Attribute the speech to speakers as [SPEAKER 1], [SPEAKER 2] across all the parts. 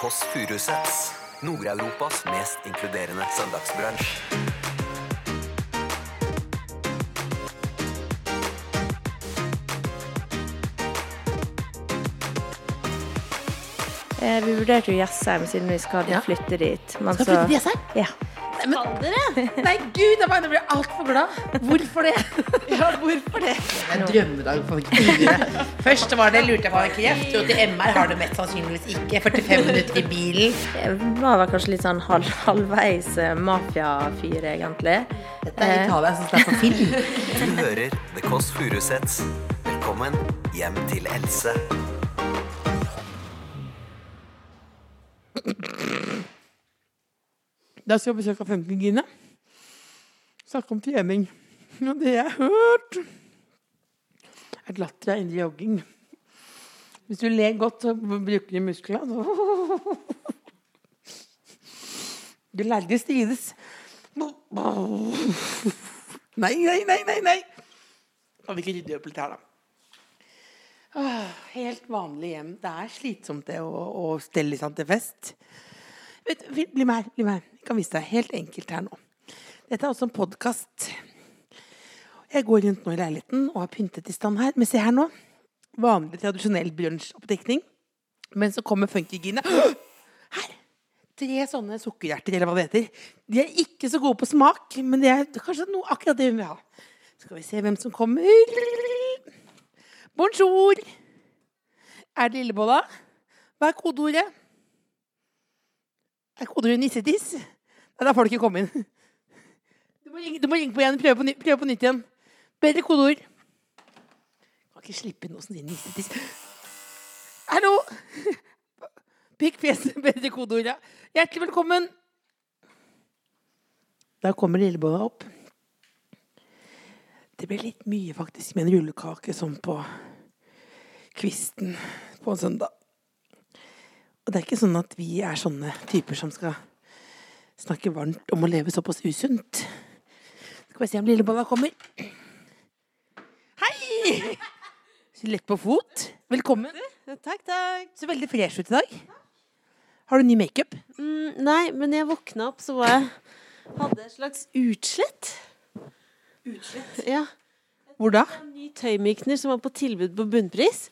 [SPEAKER 1] Kåss Furuseths. Nord-Europas mest inkluderende søndagsbransj.
[SPEAKER 2] Eh, vi vurderte jo Jessheim siden vi skal
[SPEAKER 3] Ja.
[SPEAKER 2] flytte dit. Men
[SPEAKER 3] Skal vi flytte til
[SPEAKER 2] så,
[SPEAKER 3] Jessheim?
[SPEAKER 2] ja.
[SPEAKER 3] Nei, men, nei gud, jeg bare blir altfor glad. Hvorfor det? Ja, hvorfor det? Det er en drømmedag for Kine. Først var det lurte jeg på om jeg ikke gikk. Dro til MR, har det mest sannsynligvis ikke. 45 minutter i bilen.
[SPEAKER 2] Jeg var vel kanskje litt sånn halv, halvveis eh, mafiafyr, egentlig.
[SPEAKER 3] Det er Italia, jeg synes det er for film.
[SPEAKER 1] Du hører The Kåss Furuseths. Velkommen hjem til Else.
[SPEAKER 4] Da skal jeg besøke Funkygine. Snakke om trening. Og det jeg har hørt, er at latter er indre jogging. Hvis du ler godt, så bruker de musklene. Du lærde strides. Nei, nei, nei, nei, nei. Kan vi ikke rydde opp litt her, da? Åh, Helt vanlig hjem. Det er slitsomt det å, å stelle sånn til fest. Vet, du, bli med her. bli med her. Jeg kan vise deg helt enkelt her nå. Dette er også en podkast. Jeg går rundt nå i leiligheten og har pyntet i stand her. Men se her nå. Vanlig, tradisjonell brunsjoppdekning. Men så kommer funkygine. Her! Tre sånne sukkerhjerter, eller hva det heter. De er ikke så gode på smak, men det er kanskje noe akkurat det hun vil ha. Skal vi se hvem som kommer. Bonjour! Er det Lillebolla? Hva er kodeordet? Er koderud nissetiss? Nei, da får du ikke komme inn. Du må ringe, du må ringe på igjen. Prøve på, ny, prøve på nytt igjen. Bedre kodeord. Kan ikke slippe inn noe som sier nissetiss. Hallo! Pikk fjeset, bedre kodeord, ja. Hjertelig velkommen. Da kommer lillebånda opp. Det ble litt mye, faktisk, med en rullekake sånn på kvisten på en søndag. Og det er ikke sånn at vi er sånne typer som skal snakke varmt om å leve såpass usunt. Skal vi se om lillebolla kommer. Hei! Så lett på fot. Velkommen.
[SPEAKER 5] Takk, takk.
[SPEAKER 4] Så veldig fresh ut i dag. Har du ny makeup?
[SPEAKER 5] Mm, nei, men jeg våkna opp, så var jeg Hadde et slags utslett. Utslett? Ja.
[SPEAKER 4] Hvor da?
[SPEAKER 5] En ny tøymykner som var på tilbud på bunnpris.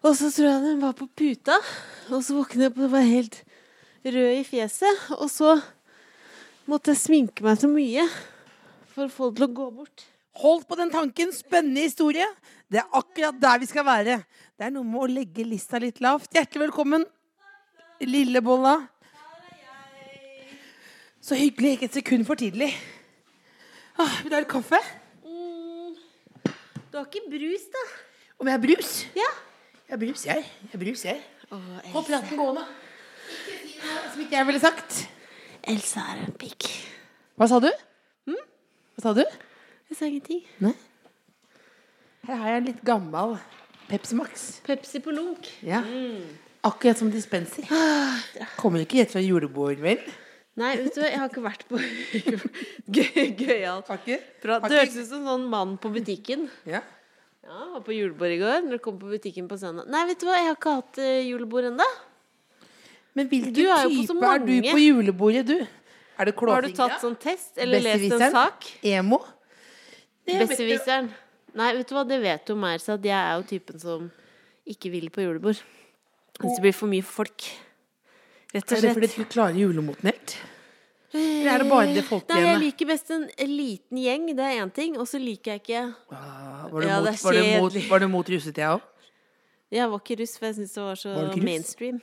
[SPEAKER 5] Og så tror jeg den var på puta. Og så våknet jeg opp og var helt rød i fjeset. Og så måtte jeg sminke meg så mye for å få det til å gå bort.
[SPEAKER 4] Hold på den tanken. Spennende historie. Det er akkurat der vi skal være. Det er noe med å legge lista litt lavt. Hjertelig velkommen, lillebolla. Så hyggelig. Ikke et sekund for tidlig. Ah, vil du ha litt kaffe?
[SPEAKER 5] Du har ikke brus, da?
[SPEAKER 4] Om jeg har brus?
[SPEAKER 5] Ja.
[SPEAKER 4] Jeg har brus, jeg. Jeg har brus, jeg. Hold praten gående. Som ikke jeg ville sagt.
[SPEAKER 5] Elsa er en pikk.
[SPEAKER 4] Hva sa du? Hm? Hva sa du?
[SPEAKER 5] Jeg sa ingenting.
[SPEAKER 4] Her har jeg en litt gammel Pepsi Max.
[SPEAKER 5] Pepsi på lunk.
[SPEAKER 4] Ja.
[SPEAKER 5] Mm.
[SPEAKER 4] Akkurat som dispenser.
[SPEAKER 5] Ah,
[SPEAKER 4] Kommer ikke rett fra julebord, vel?
[SPEAKER 5] Nei, vet du, hva, jeg har ikke vært på gøy- gøyalt.
[SPEAKER 4] Har ikke?
[SPEAKER 5] Bra.
[SPEAKER 4] Har
[SPEAKER 5] Du
[SPEAKER 4] ikke-
[SPEAKER 5] hørtes ut som en sånn mann på butikken.
[SPEAKER 4] Ja.
[SPEAKER 5] Ja, han Var på julebord i går. Når du kom på butikken på søndag Nei, vet du hva, jeg har ikke hatt eh, julebord ennå.
[SPEAKER 4] Men hvilken
[SPEAKER 5] Du er jo på så
[SPEAKER 4] type er du
[SPEAKER 5] mange.
[SPEAKER 4] på julebordet, du? Er det
[SPEAKER 5] Har du
[SPEAKER 4] klåfingra?
[SPEAKER 5] tatt sånn test eller lest en
[SPEAKER 4] Besserwisseren?
[SPEAKER 5] sak?
[SPEAKER 4] Emo? Det vet du-
[SPEAKER 5] Besserwisseren. Nei, vet du hva, det vet du om meg, så at jeg er jo typen som ikke vil på julebord. Hvis det blir for mye folk. Rett
[SPEAKER 4] Er
[SPEAKER 5] og
[SPEAKER 4] det fordi
[SPEAKER 5] slett.
[SPEAKER 4] du ikke klarer julemoten helt? Eller er det bare det
[SPEAKER 5] Nei, jeg
[SPEAKER 4] folkelene?
[SPEAKER 5] liker best en liten gjeng, det er én ting. Og så liker jeg ikke
[SPEAKER 4] Ah, Var du
[SPEAKER 5] Ja, det
[SPEAKER 4] mot,
[SPEAKER 5] er
[SPEAKER 4] var du mot,
[SPEAKER 5] kjedelig.
[SPEAKER 4] var du mot russetida òg?
[SPEAKER 5] Jeg var ikke russ, for jeg syntes det var så
[SPEAKER 4] Var du ikke russ?
[SPEAKER 5] mainstream.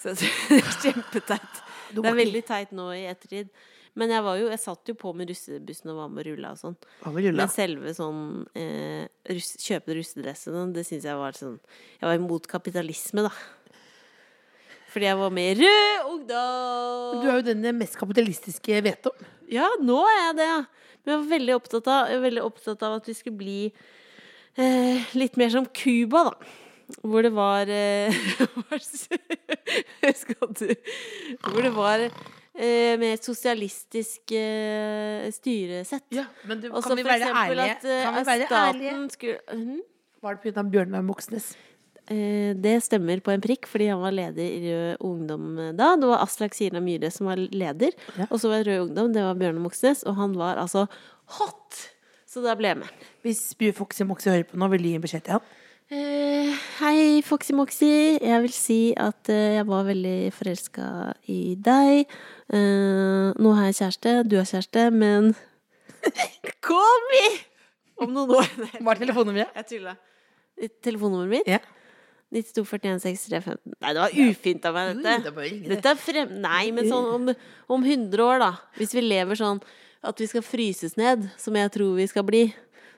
[SPEAKER 5] Så jeg synes det er kjempeteit. Det er veldig teit nå i ettertid. Men jeg, var jo, jeg satt jo på med russebussen og var med og rulla og sånn. Men selve sånn eh, russ, kjøpe russedressene, det syns jeg var sånn Jeg var imot kapitalisme, da. Fordi jeg var med i Rød Ungdom!
[SPEAKER 4] Du er jo den mest kapitalistiske jeg vet om.
[SPEAKER 5] Ja, nå er jeg det. Men jeg var veldig opptatt av, jeg var veldig opptatt av at vi skulle bli eh, litt mer som Cuba, da. Hvor det var eh, hva Skal du Hvor det var eh, mer et sosialistisk eh, styresett.
[SPEAKER 4] men du,
[SPEAKER 5] Og så
[SPEAKER 4] kan vi
[SPEAKER 5] for
[SPEAKER 4] være
[SPEAKER 5] eksempel
[SPEAKER 4] ærlige?
[SPEAKER 5] at eh,
[SPEAKER 4] kan vi være
[SPEAKER 5] staten
[SPEAKER 4] ærlige?
[SPEAKER 5] skulle Mhm.
[SPEAKER 4] Var det pga. Bjørnar Moxnes?
[SPEAKER 5] Eh, Det stemmer på en prikk, fordi han var leder i Rød Ungdom eh, da. Det var Aslak Sira Myhre som var leder, og så var Rød Ungdom, det var Bjørnar Moxnes, og han var altså hot! Så da ble jeg med.
[SPEAKER 4] Hvis Foxy Moxy hører på nå, vil du gi en beskjed til ham?
[SPEAKER 5] Eh, hei, Foxy Moxy. Jeg vil si at eh, jeg var veldig forelska i deg. Eh, nå har jeg kjæreste, du har kjæreste, men Call me! Om noen år. Nei,
[SPEAKER 4] Hva er telefonnummeret?
[SPEAKER 5] Jeg tulla. Telefonnummeret mitt?
[SPEAKER 4] Ja.
[SPEAKER 5] 92416315. Nei, det var ufint av meg, dette. Dette er frem... Nei, men sånn om, om 100 år, da. Hvis vi lever sånn at vi skal fryses ned, som jeg tror vi skal bli.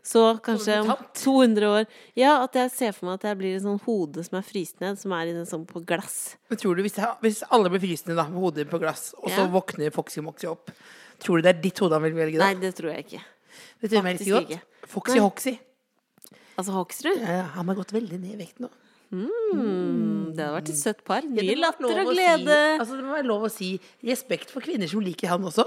[SPEAKER 5] Så kanskje om 200 år Ja, at jeg ser for meg at jeg blir et sånn hode som er fryst ned, som er i en sånn på glass.
[SPEAKER 4] Men tror du, hvis, jeg, hvis alle blir frysende da, med hodet på glass, og så
[SPEAKER 5] Ja.
[SPEAKER 4] våkner Foxy Moxy opp, tror du det er ditt hode han vil velge?
[SPEAKER 5] Nei,
[SPEAKER 4] da?
[SPEAKER 5] det tror jeg ikke.
[SPEAKER 4] Vet du hvem jeg
[SPEAKER 5] faktisk
[SPEAKER 4] liker godt?
[SPEAKER 5] ikke.
[SPEAKER 4] Foxy
[SPEAKER 5] Nei.
[SPEAKER 4] Hoxy.
[SPEAKER 5] Altså Hoksrud?
[SPEAKER 4] Ja, han har gått veldig ned i vekt nå.
[SPEAKER 5] Det hadde vært et søtt par. Mye
[SPEAKER 4] Det må være
[SPEAKER 5] latter
[SPEAKER 4] lov
[SPEAKER 5] og
[SPEAKER 4] å
[SPEAKER 5] glede.
[SPEAKER 4] Si, altså, det må være lov å si respekt for kvinner som liker han også.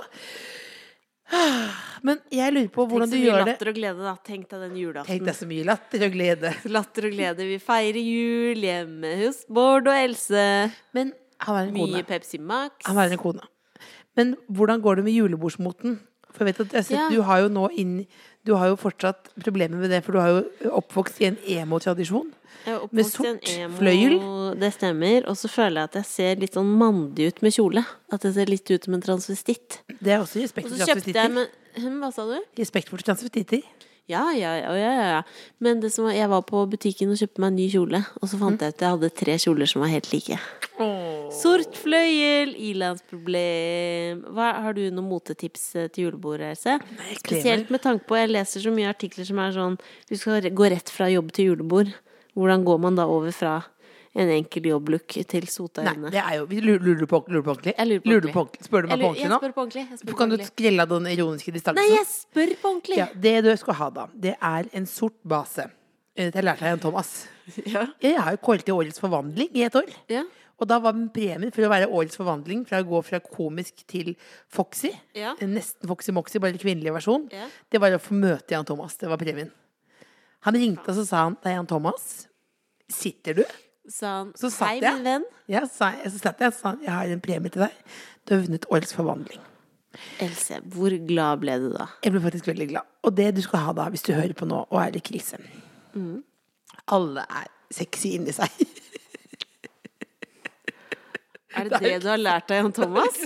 [SPEAKER 4] Ah, Men jeg lurer på hvordan
[SPEAKER 5] Tenk
[SPEAKER 4] du
[SPEAKER 5] så mye
[SPEAKER 4] gjør det.
[SPEAKER 5] latter og glede, da. Tenk deg den
[SPEAKER 4] Tenk
[SPEAKER 5] julaften.
[SPEAKER 4] deg så mye latter og glede.
[SPEAKER 5] Latter og glede. Vi feirer jul hjemme hos Bård og Else.
[SPEAKER 4] Men han er en
[SPEAKER 5] Mye
[SPEAKER 4] kone.
[SPEAKER 5] Pepsi Max.
[SPEAKER 4] Han er en kone. Men hvordan går det med julebordsmoten? For jeg vet at jeg har sett,
[SPEAKER 5] Ja.
[SPEAKER 4] du har jo nå inn Du har jo fortsatt problemer med det, for du har jo oppvokst i en emo-tradisjon.
[SPEAKER 5] Jeg er oppvokst
[SPEAKER 4] Med
[SPEAKER 5] i en
[SPEAKER 4] sort fløyel.
[SPEAKER 5] Det stemmer. Og så føler jeg at jeg ser litt sånn mandig ut med kjole. At jeg ser litt ut som en transvestitt.
[SPEAKER 4] Det er også respekt
[SPEAKER 5] Og
[SPEAKER 4] for
[SPEAKER 5] så kjøpte jeg
[SPEAKER 4] transvestitter.
[SPEAKER 5] med Hm, Hva sa du?
[SPEAKER 4] Respekt for transvestitter.
[SPEAKER 5] Ja, ja, ja. ja, ja, ja. Men det som var, jeg var på butikken og kjøpte meg en ny kjole, og så
[SPEAKER 4] Mm.
[SPEAKER 5] fant jeg ut at jeg hadde tre kjoler som var helt like. Sort fløyel, ilandsproblem Hva, Har du noen motetips eh, til julebordet, Else?
[SPEAKER 4] kremer.
[SPEAKER 5] Spesielt med tanke på Jeg leser så mye artikler som er sånn Du skal gå rett fra jobb til julebord. Hvordan går man da over fra en enkel jobblook til sota
[SPEAKER 4] Nei,
[SPEAKER 5] øyne?
[SPEAKER 4] det er jo vi lurer, lurer, du på, lurer du på ordentlig?
[SPEAKER 5] Jeg lurer på
[SPEAKER 4] Lurer du på
[SPEAKER 5] ordentlig.
[SPEAKER 4] ordentlig? Spør du
[SPEAKER 5] Jeg
[SPEAKER 4] meg på
[SPEAKER 5] lurer- jeg
[SPEAKER 4] ordentlig nå?
[SPEAKER 5] spør på ordentlig. Jeg spør på
[SPEAKER 4] Kan du
[SPEAKER 5] ordentlig.
[SPEAKER 4] skrelle av den ironiske distansen?
[SPEAKER 5] Nei, jeg spør på ordentlig!
[SPEAKER 4] Ja, det du skal ha, da, det er en sort base. Eh, Det lærte jeg av Jan Thomas.
[SPEAKER 5] Ja.
[SPEAKER 4] Jeg har jo kåret til Årets forvandling i et år.
[SPEAKER 5] Ja.
[SPEAKER 4] Og da var premien for å være Årets forvandling, fra å gå fra komisk til Foxy,
[SPEAKER 5] Ja.
[SPEAKER 4] en nesten Foxy Moxy, bare kvinnelig versjon,
[SPEAKER 5] Ja.
[SPEAKER 4] det var å få møte Jan Thomas. Det var premien. Han ringte og så sa han, det er Jan Thomas. Sitter du?
[SPEAKER 5] Sa han
[SPEAKER 4] Så satt
[SPEAKER 5] Hei,
[SPEAKER 4] jeg.
[SPEAKER 5] min venn.
[SPEAKER 4] Ja, sa jeg, så satt jeg og sa han, jeg har en premie til deg. Du har vunnet Årets forvandling.
[SPEAKER 5] Else, hvor glad ble du da?
[SPEAKER 4] Jeg ble faktisk veldig glad. Og det du skal ha da, hvis du hører på nå og er i krise
[SPEAKER 5] Mm.
[SPEAKER 4] Alle er sexy inni seg.
[SPEAKER 5] Er det det du har lært av Jan Thomas?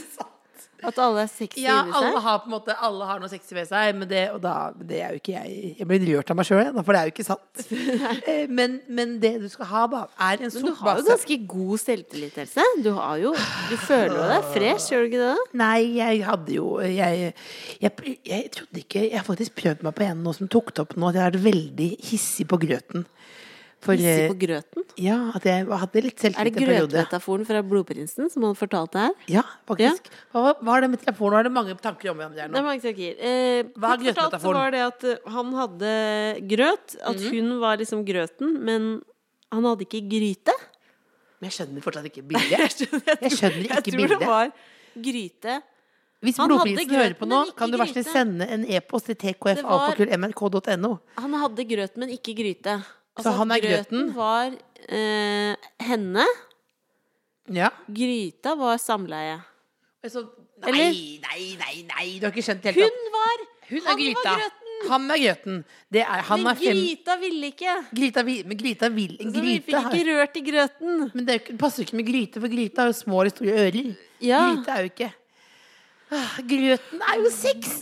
[SPEAKER 5] At alle er sexy
[SPEAKER 4] Ja,
[SPEAKER 5] inni
[SPEAKER 4] alle
[SPEAKER 5] seg?
[SPEAKER 4] har på en måte Alle har noe sexy ved seg, men det, og da, det er jo ikke jeg Jeg blir rørt av meg sjøl, for det er jo ikke sant. Eh, Men, men det du skal ha, da, er en
[SPEAKER 5] Du
[SPEAKER 4] sort
[SPEAKER 5] har jo
[SPEAKER 4] base.
[SPEAKER 5] ganske god selvtillit, Else. Du har jo Du føler jo deg fresh, gjør du ikke det?
[SPEAKER 4] Nei, jeg hadde jo jeg, jeg, jeg trodde ikke Jeg har faktisk prøvd meg på en nå som tok det opp nå, at jeg har vært veldig hissig på grøten. For,
[SPEAKER 5] Hissig på
[SPEAKER 4] eh,
[SPEAKER 5] grøten?
[SPEAKER 4] Ja, at jeg hadde litt
[SPEAKER 5] Er det
[SPEAKER 4] selvtillit en periode.
[SPEAKER 5] grøtmetaforen fra Blodprinsen som han fortalte her?
[SPEAKER 4] Ja, faktisk. Hva, var- hva er det med telefonen? Nå er det mange tanker om hverandre her
[SPEAKER 5] Det er
[SPEAKER 4] nå.
[SPEAKER 5] mange saker. Eh,
[SPEAKER 4] Hva er
[SPEAKER 5] kort fortalt så
[SPEAKER 4] grøtmetaforen?
[SPEAKER 5] var det at eh, han hadde grøt. At hun var liksom grøten, men han hadde ikke gryte.
[SPEAKER 4] Men jeg skjønner fortsatt ikke bildet.
[SPEAKER 5] skjønner,
[SPEAKER 4] Jeg skjønner ikke
[SPEAKER 5] jeg tror
[SPEAKER 4] bildet.
[SPEAKER 5] det var gryte.
[SPEAKER 4] Hvis
[SPEAKER 5] Han hadde
[SPEAKER 4] Blodprisen
[SPEAKER 5] grøten,
[SPEAKER 4] hører på nå,
[SPEAKER 5] men ikke
[SPEAKER 4] kan du vær så snill
[SPEAKER 5] gryte.
[SPEAKER 4] sende en e-post til tkfa.mrk.no.
[SPEAKER 5] Han hadde grøt, men ikke gryte. Altså
[SPEAKER 4] Så han er
[SPEAKER 5] grøten
[SPEAKER 4] grøten?
[SPEAKER 5] var eh, henne.
[SPEAKER 4] Ja.
[SPEAKER 5] Gryta var samleie.
[SPEAKER 4] Så,
[SPEAKER 5] Eller?
[SPEAKER 4] Altså, nei, nei, nei, nei, du har ikke skjønt det hele tatt.
[SPEAKER 5] Hun var
[SPEAKER 4] Hun er
[SPEAKER 5] han
[SPEAKER 4] gryta.
[SPEAKER 5] var grøten!
[SPEAKER 4] Han er grøten. Det er, han
[SPEAKER 5] Men
[SPEAKER 4] er fem...
[SPEAKER 5] gryta ville ikke.
[SPEAKER 4] Gryta vil, men gryta vil en
[SPEAKER 5] Så vi
[SPEAKER 4] gryte.
[SPEAKER 5] fikk
[SPEAKER 4] har-
[SPEAKER 5] ikke rørt i grøten.
[SPEAKER 4] Men det er jo ikke- passer jo ikke med gryte, for gryta har jo små eller store ører.
[SPEAKER 5] Ja.
[SPEAKER 4] Gryte er jo ikke Ah, Grøten er jo seks!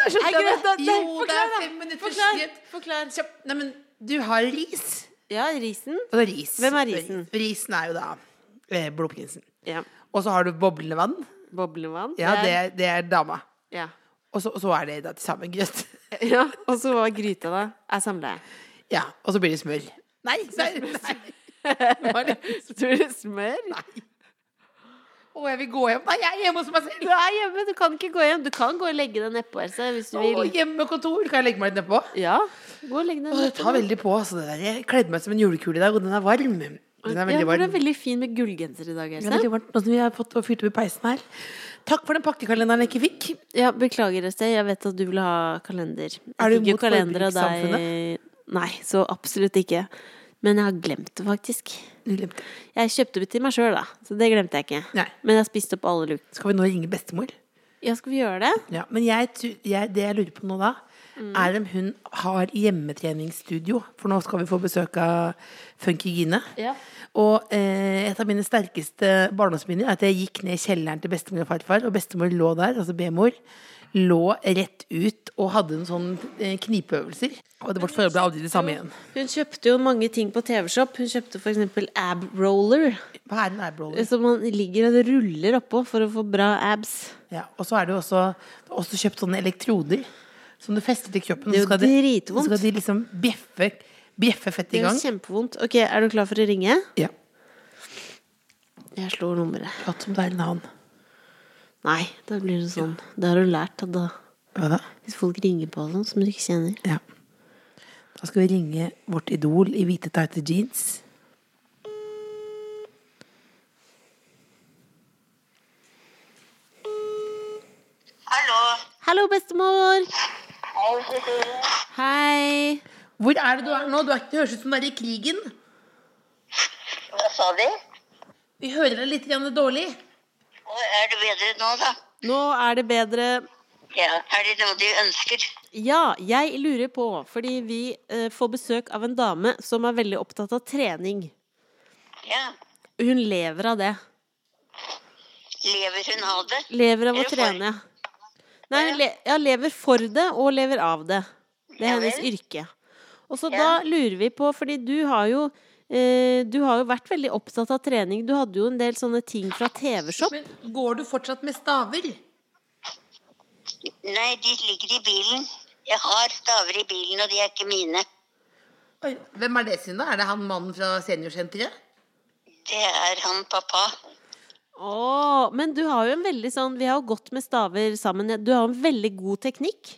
[SPEAKER 4] Da skjønte
[SPEAKER 5] Er
[SPEAKER 4] jeg det.
[SPEAKER 5] grøta- nei,
[SPEAKER 4] Jo, det
[SPEAKER 5] forklar
[SPEAKER 4] er
[SPEAKER 5] da.
[SPEAKER 4] fem minutter
[SPEAKER 5] Forklar,
[SPEAKER 4] siden.
[SPEAKER 5] forklar.
[SPEAKER 4] Kjapt. Nei, men du har ris.
[SPEAKER 5] Ja, risen.
[SPEAKER 4] Og det er ris.
[SPEAKER 5] Hvem er risen?
[SPEAKER 4] Risen er jo da eh, blodprinsen.
[SPEAKER 5] Ja.
[SPEAKER 4] Og så har du boblende vann.
[SPEAKER 5] Boblevann.
[SPEAKER 4] Ja, det, er- det er dama.
[SPEAKER 5] ja.
[SPEAKER 4] Og så, og så er det da til sammen grøt.
[SPEAKER 5] ja. Og så var gryta, da. Er samleie.
[SPEAKER 4] Ja, og så blir det smør. Nei, nei, nei. Hva er det?
[SPEAKER 5] Tror du smør?
[SPEAKER 4] Å, jeg vil gå hjem. Nei, jeg er hjemme hos meg
[SPEAKER 5] Du
[SPEAKER 4] selv.
[SPEAKER 5] er hjemme, du kan ikke gå hjem. Du kan gå og legge deg nedpå, Else, hvis du
[SPEAKER 4] Å,
[SPEAKER 5] vil.
[SPEAKER 4] hjemmekontor. Kan jeg legge meg litt nedpå?
[SPEAKER 5] Ja, gå og legg deg
[SPEAKER 4] Å, Det
[SPEAKER 5] nedpå.
[SPEAKER 4] tar veldig på. Altså, det der. Jeg kledde meg som en julekule i dag, og den er varm. Den
[SPEAKER 5] Ja,
[SPEAKER 4] er
[SPEAKER 5] for
[SPEAKER 4] veldig
[SPEAKER 5] du er
[SPEAKER 4] varm.
[SPEAKER 5] veldig fin med gullgenser i dag,
[SPEAKER 4] Det er
[SPEAKER 5] Else.
[SPEAKER 4] veldig varmt nå som vi har fått og fyrt opp i peisen her. Takk for den pakkekalenderen jeg ikke fikk.
[SPEAKER 5] Ja, beklager, Else. Jeg vet at du vil ha kalender. Jeg
[SPEAKER 4] Er du
[SPEAKER 5] fikk jo
[SPEAKER 4] mot
[SPEAKER 5] kalender av deg-
[SPEAKER 4] forbrukssamfunnet?
[SPEAKER 5] Nei, så absolutt ikke. Men jeg har glemt det, faktisk.
[SPEAKER 4] Du glemte.
[SPEAKER 5] Jeg kjøpte det til meg sjøl, da. Så det glemte jeg ikke.
[SPEAKER 4] Nei.
[SPEAKER 5] Men jeg spiste opp alle luk.
[SPEAKER 4] Skal vi nå ringe bestemor?
[SPEAKER 5] Ja, skal vi gjøre det?
[SPEAKER 4] Ja, men jeg, tu- jeg, det jeg lurer på nå da, er om hun har hjemmetreningsstudio. For nå skal vi få besøk av Funky Gine.
[SPEAKER 5] Ja.
[SPEAKER 4] Og eh, et av mine sterkeste barndomsminner er at jeg gikk ned i kjelleren til bestemor og farfar, og bestemor lå der, altså bemor, lå rett ut og hadde en sånn eh, knipeøvelser. Og det vårt forhold ble aldri det samme igjen.
[SPEAKER 5] Hun kjøpte jo mange ting på TV-shop. Hun kjøpte for eksempel ab roller,
[SPEAKER 4] Hva er en eyebroller?
[SPEAKER 5] som man ligger og ruller oppå for å få bra abs.
[SPEAKER 4] Ja, og så er det jo også, det er også kjøpt sånne elektroder som du fester til kroppen.
[SPEAKER 5] Det
[SPEAKER 4] så
[SPEAKER 5] er jo
[SPEAKER 4] skal de-
[SPEAKER 5] dritvondt.
[SPEAKER 4] Så skal de liksom bjeffe, bjeffe fett
[SPEAKER 5] Det
[SPEAKER 4] i
[SPEAKER 5] gjør
[SPEAKER 4] gang.
[SPEAKER 5] kjempevondt. Ok, er du klar for å ringe?
[SPEAKER 4] Ja.
[SPEAKER 5] Jeg slår nummeret.
[SPEAKER 4] Prat som det er en annen.
[SPEAKER 5] Nei, da blir det sånn. Det har du lært at da
[SPEAKER 4] Hva da?
[SPEAKER 5] Hvis folk ringer på sånn, noen som du ikke kjenner.
[SPEAKER 4] Ja. Da skal vi ringe vårt idol i hvite tighte jeans.
[SPEAKER 6] Hallo.
[SPEAKER 5] Hallo, bestemor!
[SPEAKER 6] Hei, Cecilie.
[SPEAKER 5] Hei!
[SPEAKER 4] Hvor er det du er nå? Du er ikke, det høres ut som du er i krigen.
[SPEAKER 6] Hva sa de?
[SPEAKER 4] Vi hører deg litt grann dårlig.
[SPEAKER 6] Å, Er det bedre nå, da?
[SPEAKER 5] Nå er det bedre
[SPEAKER 6] Ja. Er det noe de ønsker?
[SPEAKER 5] Ja, jeg lurer på, fordi vi eh, får besøk av en dame som er veldig opptatt av trening.
[SPEAKER 6] Ja.
[SPEAKER 5] Hun lever av det.
[SPEAKER 6] Lever hun av det?
[SPEAKER 5] Lever av å
[SPEAKER 6] Eller for.
[SPEAKER 5] trene. Nei, hun le ja, lever for det og lever av det. Det er
[SPEAKER 6] Ja
[SPEAKER 5] hennes
[SPEAKER 6] vel.
[SPEAKER 5] yrke. Og så
[SPEAKER 6] Ja.
[SPEAKER 5] da lurer vi på, fordi du har jo eh, du har jo vært veldig opptatt av trening. Du hadde jo en del sånne ting fra TV-shop.
[SPEAKER 4] Men går du fortsatt med staver?
[SPEAKER 6] Nei, de ligger i bilen. Jeg har staver i bilen, og de er ikke mine.
[SPEAKER 4] Oi, Hvem er det sin, da? Er det han mannen fra seniorsenteret?
[SPEAKER 6] Det er han pappa.
[SPEAKER 5] Åh, men du har jo en veldig sånn Vi har jo gått med staver sammen. Du har en veldig god teknikk.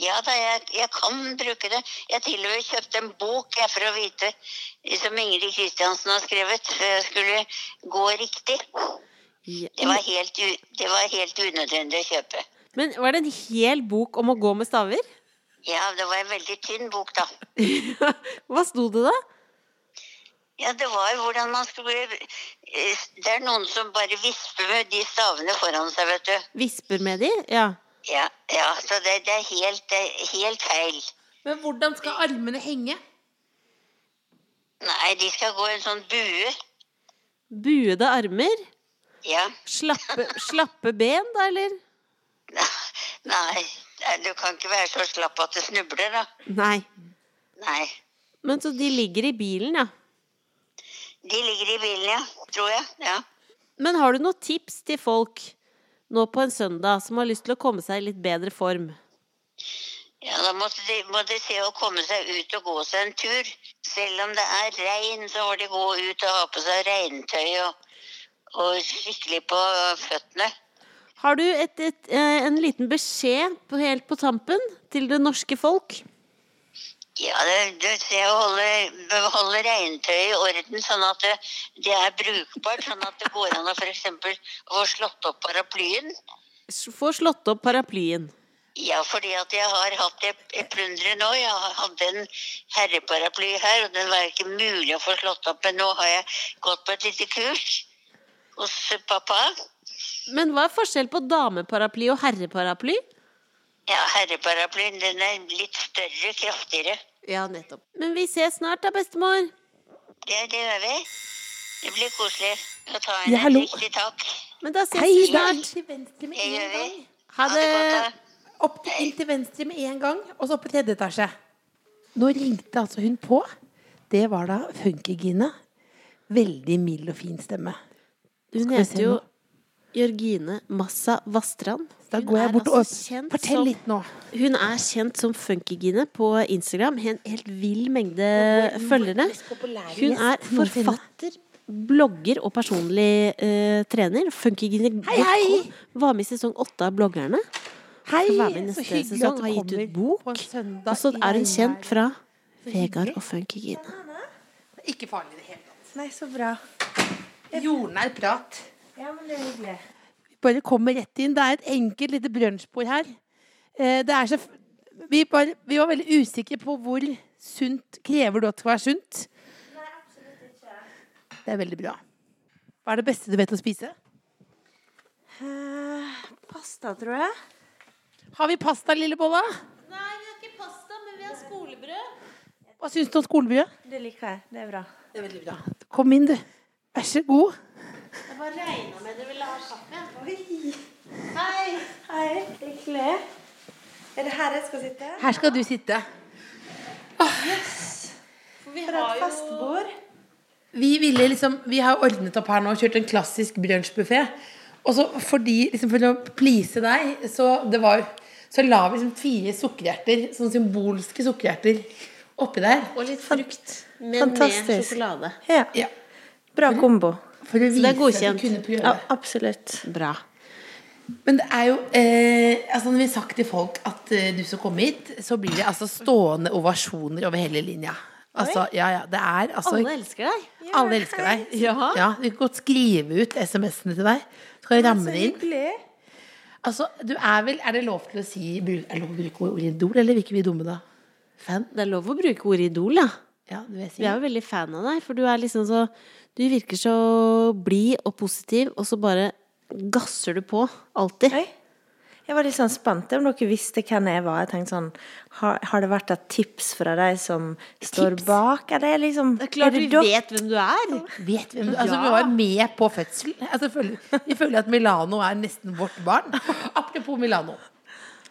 [SPEAKER 6] Ja da, jeg, jeg kan bruke det. Jeg til og med kjøpte en bok jeg, for å vite, som Ingrid Kristiansen har skrevet, for jeg skulle gå riktig. Det var helt, u- det var helt unødvendig å kjøpe.
[SPEAKER 5] Men var det en hel bok om å gå med staver?
[SPEAKER 6] Ja, det var en veldig tynn bok, da.
[SPEAKER 5] Hva sto det da?
[SPEAKER 6] Ja, det var jo hvordan man skulle eh, Det er noen som bare visper med de stavene foran seg, vet du.
[SPEAKER 5] Visper med de? Ja.
[SPEAKER 6] Ja, ja så det, det, er helt, det er helt feil.
[SPEAKER 4] Men hvordan skal armene henge?
[SPEAKER 6] Nei, de skal gå i en sånn bue.
[SPEAKER 5] Buede armer?
[SPEAKER 6] Ja.
[SPEAKER 5] Slappe, slappe ben, da, eller?
[SPEAKER 6] Nei, nei, du kan ikke være så slapp at du snubler, da.
[SPEAKER 5] Nei.
[SPEAKER 6] Nei.
[SPEAKER 5] Men så de ligger i bilen, ja.
[SPEAKER 6] De ligger i bilen, ja. Tror jeg. Ja.
[SPEAKER 5] Men har du noen tips til folk nå på en søndag som har lyst til å komme seg i litt bedre form?
[SPEAKER 6] Ja, Da måtte de, må de se å komme seg ut og gå seg en tur. Selv om det er regn, så må de gå ut og ha på seg regntøy og, og skikkelig på føttene.
[SPEAKER 5] Har du et, et, eh, en liten beskjed på, helt på tampen til det norske folk?
[SPEAKER 6] Ja, det, det, det å holde, beholde regntøyet i orden, sånn at det, det er brukbart. Sånn at det går an å f.eks. få slått opp paraplyen.
[SPEAKER 5] S- Få slått opp paraplyen.
[SPEAKER 6] Ja, fordi at jeg har hatt det i plunderet nå. Jeg har- hadde en herreparaply her, og den var ikke mulig å få slått opp. Men nå har jeg gått på et lite kurs hos pappa.
[SPEAKER 5] Men hva er forskjell på dameparaply og herreparaply?
[SPEAKER 6] Ja, herreparaplyen den er litt større, kraftigere.
[SPEAKER 5] Ja, nettopp. Men vi ses snart da, bestemor.
[SPEAKER 6] Det, det gjør vi. Det blir koselig å ta
[SPEAKER 4] Ja,
[SPEAKER 6] en
[SPEAKER 4] hallo.
[SPEAKER 6] riktig tak.
[SPEAKER 5] Men da ses
[SPEAKER 4] Hei,
[SPEAKER 5] vi
[SPEAKER 4] da.
[SPEAKER 5] snart.
[SPEAKER 4] Til venstre med
[SPEAKER 6] Det
[SPEAKER 4] en
[SPEAKER 6] gjør vi.
[SPEAKER 4] gang.
[SPEAKER 5] Ha
[SPEAKER 6] Ha
[SPEAKER 5] det.
[SPEAKER 6] det godt. da.
[SPEAKER 4] Opp til, inn til venstre med en gang, og så opp i tredje etasje. Nå ringte altså hun på. Det var da Funkygine. Veldig mild og fin stemme.
[SPEAKER 5] Hun
[SPEAKER 4] Skal vi se
[SPEAKER 5] heter jo
[SPEAKER 4] nå?
[SPEAKER 5] Jørgine Massa Vastrand.
[SPEAKER 4] Da
[SPEAKER 5] Hun
[SPEAKER 4] går
[SPEAKER 5] er
[SPEAKER 4] jeg bort
[SPEAKER 5] altså
[SPEAKER 4] og
[SPEAKER 5] kjent
[SPEAKER 4] Fortell
[SPEAKER 5] som-
[SPEAKER 4] litt nå.
[SPEAKER 5] Hun er kjent som Funkygine på Instagram. En helt vill mengde følgere. Hun er forfatter, blogger og personlig eh, trener. Funkygine
[SPEAKER 4] Hei, hei!
[SPEAKER 5] var med i sesong åtte av Bloggerne.
[SPEAKER 4] Hei,
[SPEAKER 5] Skal være med i neste
[SPEAKER 4] så hyggelig
[SPEAKER 5] sesong.
[SPEAKER 4] at du
[SPEAKER 5] Har gitt
[SPEAKER 4] kommer
[SPEAKER 5] ut bok.
[SPEAKER 4] på en søndag
[SPEAKER 5] Og så
[SPEAKER 4] i
[SPEAKER 5] er hun
[SPEAKER 4] regnvær.
[SPEAKER 5] kjent fra Vegard og Funkygine.
[SPEAKER 4] Ikke farlig i det hele tatt.
[SPEAKER 2] Nei, så bra.
[SPEAKER 4] Jordnær prat.
[SPEAKER 2] Ja, men det er hyggelig.
[SPEAKER 4] bare kommer rett inn. Det er et enkelt lite brunsjbord her. Eh, Det er så vi, bare, vi var veldig usikre på hvor sunt krever du at det skal være sunt.
[SPEAKER 2] Nei,
[SPEAKER 4] Det er veldig bra. Hva er det beste du vet å spise?
[SPEAKER 2] Eh,
[SPEAKER 5] Pasta, tror jeg.
[SPEAKER 4] Har vi pasta, lille bolla?
[SPEAKER 5] Nei, vi har ikke pasta, men vi har skolebrød.
[SPEAKER 4] Hva syns du om skolebye?
[SPEAKER 5] Det liker jeg. Det er bra.
[SPEAKER 4] Kom inn, du. Vær så god.
[SPEAKER 5] Jeg bare regna med du ville ha kaffe. Hei. Hei. Hyggelig. Er det her jeg skal sitte?
[SPEAKER 4] Her skal du sitte.
[SPEAKER 5] Vi har jo fastbord.
[SPEAKER 4] Vi, ville liksom, vi har ordnet opp her nå og kjørt en klassisk brunsjbuffé. Og så fordi, liksom for å please deg, så, det var, så la vi liksom fire sukkerhjerter, sånn symbolske sukkerhjerter, oppi der.
[SPEAKER 5] Og litt frukt. Men med
[SPEAKER 2] Fantastisk.
[SPEAKER 5] sjokolade.
[SPEAKER 2] Ja.
[SPEAKER 4] Ja.
[SPEAKER 2] Bra kombo.
[SPEAKER 4] For å vise
[SPEAKER 5] det er godkjent.
[SPEAKER 4] at du kunne prøve.
[SPEAKER 2] Ja, absolutt.
[SPEAKER 5] Bra.
[SPEAKER 4] Men det er jo eh, altså Når vi har sagt til folk at eh, du skal komme hit, så blir det altså stående ovasjoner over hele linja. Altså, ja, ja, det er altså
[SPEAKER 5] Alle elsker deg.
[SPEAKER 4] Alle elsker deg.
[SPEAKER 5] Ja.
[SPEAKER 4] Du kan godt skrive ut SMS-ene til deg. Så kan jeg ramme det inn. Altså, du er vel Er det lov til å si bru- Er det lov å bruke ordet idol, eller virker vi dumme da? Fan?
[SPEAKER 5] Det er lov å bruke ordet idol, ja.
[SPEAKER 4] Ja, du vet
[SPEAKER 5] Vi er jo veldig fan av deg, for du er liksom så Du virker så blid og positiv, og så bare gasser du på. Alltid.
[SPEAKER 2] Oi. Jeg var litt sånn spent om dere visste hvem jeg var. Jeg tenkte sånn, har, har det vært et tips fra de som står bak? Er det liksom
[SPEAKER 5] Det er klart
[SPEAKER 2] er
[SPEAKER 5] vi
[SPEAKER 2] det dere-
[SPEAKER 5] vet hvem du er.
[SPEAKER 4] Vet hvem du Altså, vi var med på fødsel. Altså, føler, vi føler at Milano er nesten vårt barn. Apropos Milano.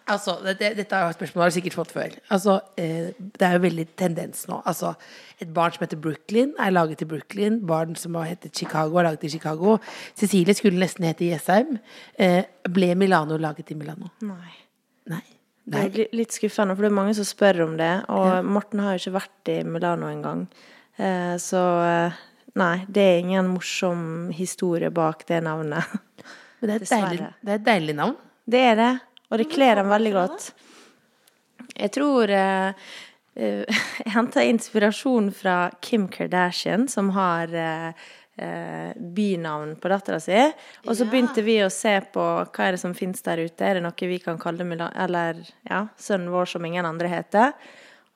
[SPEAKER 4] Altså, dette, dette er jo et spørsmål du har sikkert fått før. Altså, eh, det er jo veldig tendens nå. Altså, et barn som heter Brooklyn, er laget i Brooklyn. Barn som har hetet Chicago, er laget i Chicago. Cecilie skulle nesten hete Jessheim. Eh, ble Milano laget i Milano?
[SPEAKER 2] Nei.
[SPEAKER 4] Nei.
[SPEAKER 2] Det
[SPEAKER 4] Nei.
[SPEAKER 2] er li- litt skuffende, for det er mange som spør om det. Og Morten har jo ikke vært i Milano engang. Eh, Så eh, nei, det er ingen morsom historie bak det navnet.
[SPEAKER 4] Men det er, et deilig,
[SPEAKER 2] Dessverre.
[SPEAKER 4] det er et deilig navn.
[SPEAKER 2] Det er det, og det kler dem veldig godt. Jeg tror eh, eh, Jeg henter inspirasjon fra Kim Kardashian, som har eh, eh, bynavn på dattera si. Og så begynte vi å se på hva er det som finnes der ute. Er det noe vi kan kalle Milano, eller ja, sønnen vår som ingen andre heter?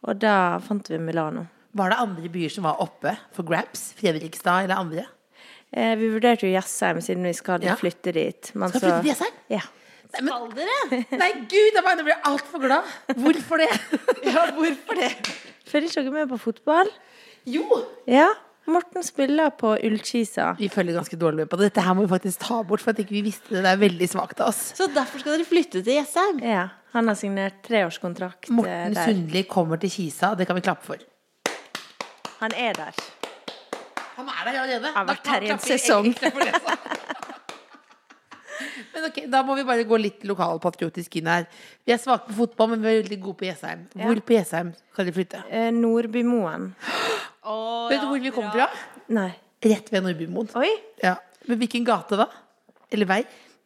[SPEAKER 2] Og da fant vi Milano.
[SPEAKER 4] Var det andre byer som var oppe for grabs? Fredrikstad eller andre?
[SPEAKER 2] Eh, vi vurderte jo Jessheim, siden vi skal
[SPEAKER 4] Ja.
[SPEAKER 2] flytte dit. Men
[SPEAKER 4] Skal
[SPEAKER 2] så-
[SPEAKER 4] vi flytte til Jessheim?
[SPEAKER 2] Ja.
[SPEAKER 5] Fall dere!
[SPEAKER 4] Nei, gud, da blir jeg altfor glad. Hvorfor det? Ja, hvorfor det?
[SPEAKER 2] Følger ikke dere med på fotball?
[SPEAKER 4] Jo,
[SPEAKER 2] Ja. Morten spiller på Ullkisa.
[SPEAKER 4] vi følger ganske dårlig med på det. Dette her må vi faktisk ta bort, for at ikke vi visste det. Det er veldig svakt av oss.
[SPEAKER 5] Så derfor skal dere flytte til Jessheim.
[SPEAKER 2] Ja, han har signert treårskontrakt eh,
[SPEAKER 4] Morten
[SPEAKER 2] der.
[SPEAKER 4] Sundli kommer til Kisa, det kan vi klappe for.
[SPEAKER 2] Han er der.
[SPEAKER 4] Han er der allerede.
[SPEAKER 2] Han har vært
[SPEAKER 4] Da
[SPEAKER 2] her
[SPEAKER 4] kan-
[SPEAKER 2] i en
[SPEAKER 4] klapper vi
[SPEAKER 2] sesong.
[SPEAKER 4] ekstra for det, så. Men ok, Da må vi bare gå litt lokalpatriotisk inn her. Vi er svake på fotball, men vi er veldig gode på Jessheim. Hvor på Jessheim kan de flytte?
[SPEAKER 2] Eh, Nordbymoen.
[SPEAKER 4] Vet du hvor vi kommer fra?
[SPEAKER 2] Nei.
[SPEAKER 4] Rett ved Nordbymoen.
[SPEAKER 2] Oi!
[SPEAKER 4] Ja. Men hvilken gate da? Eller vei?